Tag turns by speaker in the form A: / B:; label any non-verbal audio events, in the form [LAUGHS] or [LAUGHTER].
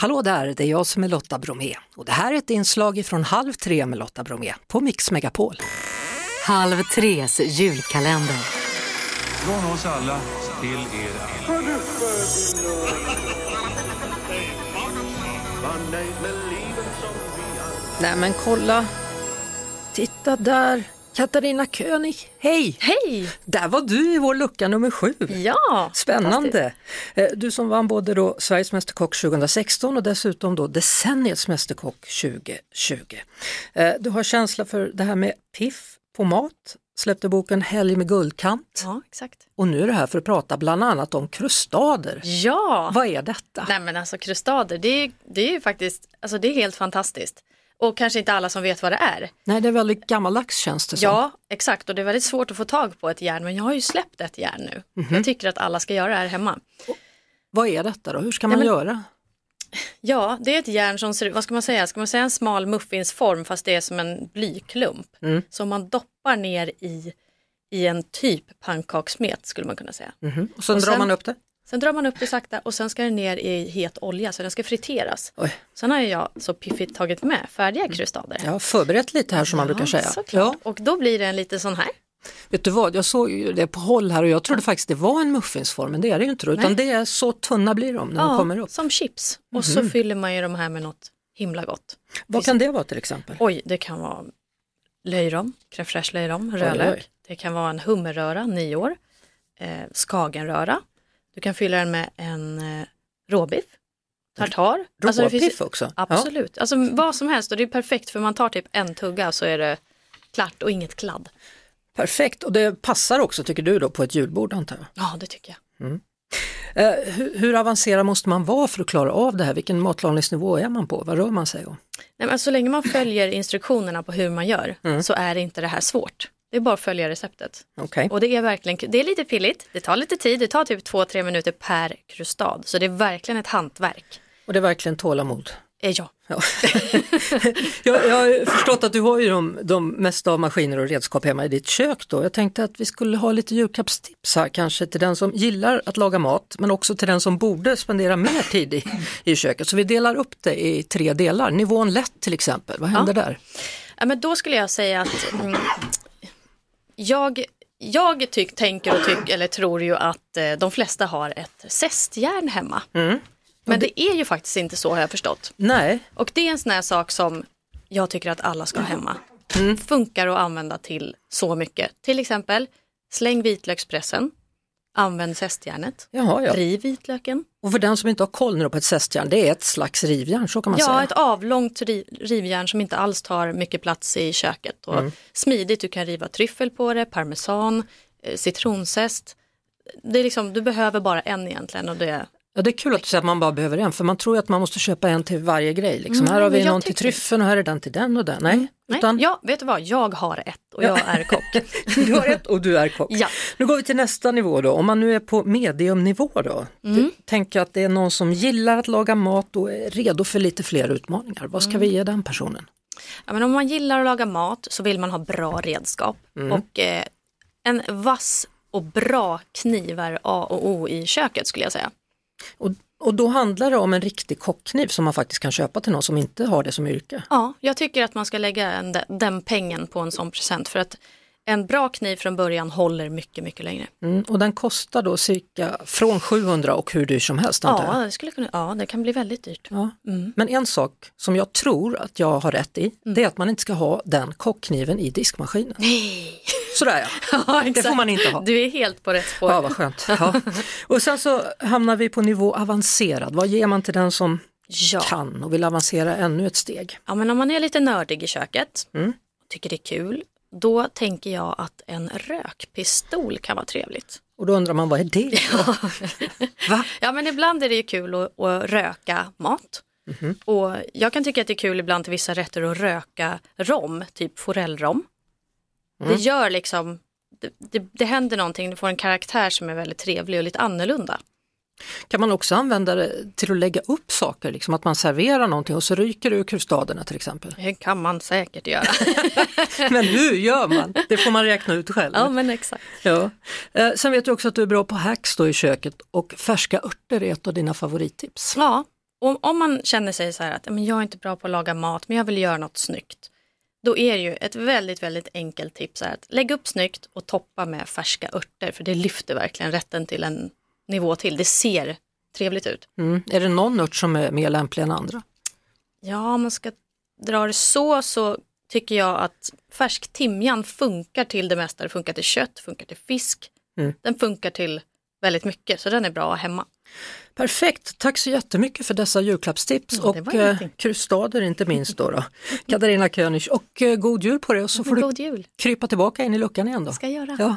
A: Hallå där, det är jag som är Lotta Bromé och det här är ett inslag från Halv tre med Lotta Bromé på Mix Megapol.
B: Halv tres julkalender.
C: Från oss alla till er
A: Nej men kolla, titta där, Katarina König, hej!
D: Hej!
A: Där var du i vår lucka nummer sju.
D: Ja!
A: Spännande! Eh, Du som vann både då Sveriges Mästerkock 2016 och dessutom då decenniets Mästerkock 2020. Eh, Du har känsla för det här med piff på mat, släppte boken Helg med guldkant
D: Ja, exakt.
A: och nu är du här för att prata bland annat om krustader.
D: Ja!
A: Vad är detta?
D: Nej men alltså krustader, det är, det är ju faktiskt, alltså det är helt fantastiskt. Och kanske inte alla som vet vad det är.
A: Nej, det är väldigt gammaldags känns det som.
D: Ja, exakt. Och det är väldigt svårt att få tag på ett järn, men jag har ju släppt ett järn nu. Jag tycker att alla ska göra det här hemma.
A: Vad är detta då? Hur ska man
D: Nej, men-
A: göra?
D: Ja, det är ett järn som ser ut, vad ska man säga, ska man säga en smal muffinsform fast det är som en blyklump. Som man doppar ner i, i en typ pannkakssmet skulle man kunna säga.
A: Mhm. Och sen
D: Och
A: drar
D: sen-
A: man upp det?
D: Sen drar man upp det sakta och sen ska den ner i het olja så den ska friteras.
A: Oj.
D: Sen har jag så piffigt tagit med färdiga krustader.
A: Jag har förberett lite här Mm. som man brukar
D: Ja,
A: säga.
D: Såklart. Och då blir det en liten sån här.
A: Vet du vad, jag såg ju det på håll här och jag trodde faktiskt det var en muffinsform, men det är det ju inte. Då, utan det är så tunna blir de när de kommer upp. Mhm.
D: Som chips. Och så fyller man ju de här med något himla gott.
A: Vad kan det vara till exempel?
D: Oj, det kan vara löjrom, crème fraîche löjrom,
A: oj.
D: rödlök. Det kan vara en hummerröra, nyår, eh, skagenröra. Du kan fylla den med en eh, råbiff, tartar. Alltså, det finns-
A: Råpiff också? Ja.
D: Absolut, alltså vad som helst och det är perfekt för man tar typ en tugga så är det klart och inget kladd.
A: Perfekt, och det passar också tycker du då på ett julbord antar jag.
D: Ja, det tycker jag.
A: Eh, hur, hur avancerad måste man vara för att klara av det här? Vilken matlagningsnivå är man på? Vad rör man sig om?
D: Nej, men alltså, så länge man följer instruktionerna på hur man gör så är inte det här svårt. Det är bara att följa receptet.
A: Okej,
D: Och det är verkligen, det är lite pilligt, det tar lite tid, det tar typ två tre minuter per krustad. Så det är verkligen ett hantverk.
A: och det är verkligen tålamod.
D: Eh, ja.
A: Ja. jag, jag har förstått att du har ju de, de mesta av maskiner och redskap hemma i ditt kök då. Jag tänkte att vi skulle ha lite julklappstips här kanske till den som gillar att laga mat men också till den som borde spendera mer tid i, i köket. Så vi delar upp det i tre delar. Nivån lätt till exempel, vad händer där?
D: ja, men då skulle jag säga att mm, jag, jag tyck, tänker och tyck, eller tror ju att eh, de flesta har ett zestjärn hemma. Men det är ju faktiskt inte så har jag förstått.
A: Nej,
D: Och det är en sån här sak som jag tycker att alla ska ha hemma.
A: Mm.
D: Funkar att använda till så mycket. Till exempel, släng vitlökspressen, använd zestjärnet,
A: jaha ja.
D: riv vitlöken.
A: Och för den som inte har koll nu då på ett zestjärn, det är ett slags rivjärn, så kan man
D: Ja,
A: säga.
D: ett avlångt ri- rivjärn som inte alls tar mycket plats i köket.
A: Mm.
D: Och Smidigt, du kan riva tryffel på det, parmesan, eh, citronzest. Det är liksom, du behöver bara en egentligen och det är
A: Ja, det är kul att du säger att man bara behöver en, för man tror ju att man måste köpa en till varje grej. Liksom.
D: Mm,
A: här har vi
D: jag
A: någon till
D: tycker- Mm.
A: tryffeln och här är den till den och den. Nej,
D: Nej,
A: utan
D: ja, vet du vad, jag har ett och jag
A: [LAUGHS]
D: är kock.
A: du har ett och du är kock.
D: Ja.
A: Nu går vi till nästa nivå då, om man nu är på mediumnivå då.
D: Mm.
A: Du tänker att det är någon som gillar att laga mat och är redo för lite fler utmaningar. Vad ska vi
D: Mm.
A: ge den personen?
D: Ja, men om man gillar att laga mat så vill man ha bra redskap
A: Mm.
D: och eh, en vass och bra kniv är A och O i köket skulle jag säga.
A: Och, och då handlar det om en riktig kockkniv som man faktiskt kan köpa till någon som inte har det som yrke.
D: Ja, jag tycker att man ska lägga en, de- den pengen på en sån present för att en bra kniv från början håller mycket, mycket längre.
A: Mm. Och den kostar då cirka från 700 och hur dyr som helst antar jag.
D: Ja, Mm. det, skulle kunna, ja, det kan bli väldigt dyrt.
A: Ja. Men en sak som jag tror att jag har rätt i,
D: Mm.
A: det är att man inte ska ha den kockkniven i diskmaskinen. Sådär ja.
D: [LAUGHS]
A: det får
D: exakt.
A: man inte ha.
D: Du är helt på rätt spår.
A: Ja, vad skönt. Ja. Och sen så hamnar vi på nivå avancerad. Vad ger man till den som
D: Ja.
A: kan och vill avancera ännu ett steg?
D: Ja, men om man är lite nördig i köket
A: Mm.
D: och tycker det är kul, då tänker jag att en rökpistol kan vara trevligt.
A: Och då undrar man, vad är det? Ja. Va?
D: Ja men ibland är det ju kul att, att röka mat. Och jag kan tycka att det är kul ibland till vissa rätter att röka rom, typ forellrom. Det gör liksom, det, det, det händer någonting, det får en karaktär som är väldigt trevlig och lite annorlunda.
A: Kan man också använda det till att lägga upp saker, liksom att man serverar någonting och så ryker det ur krustaderna till
D: [LAUGHS]
A: exempel.
D: Det kan man säkert göra.
A: Men hur gör man? Det får man räkna ut själv.
D: [LAUGHS] ja men exakt.
A: Ja. Eh, sen vet jag också att du är bra på hacks då i köket och färska örter är ett av dina favorittips.
D: Ja, om, om man känner sig så här att "Ja, men jag är inte bra på att laga mat men jag vill göra något snyggt. Då är det ju ett väldigt, väldigt enkelt tips här att lägga upp snyggt och toppa med färska örter för det lyfter verkligen rätten till en nivå till. Det ser trevligt ut.
A: Mm. Är det någon ört som är mer lämplig än andra?
D: Ja, om man ska dra det så så tycker jag att färsk timjan funkar till det mesta. Det funkar till kött, funkar till fisk.
A: Mm.
D: Den funkar till väldigt mycket så den är bra hemma.
A: Perfekt, tack så jättemycket för dessa julklappstips
D: Ja, det
A: och
D: var ingenting.
A: eh, krustader inte minst då.
D: [LAUGHS]
A: då. Katarina König och eh, god jul på dig och så får du
D: God jul,
A: krypa tillbaka in i luckan igen då.
D: ska jag göra.
A: Ja.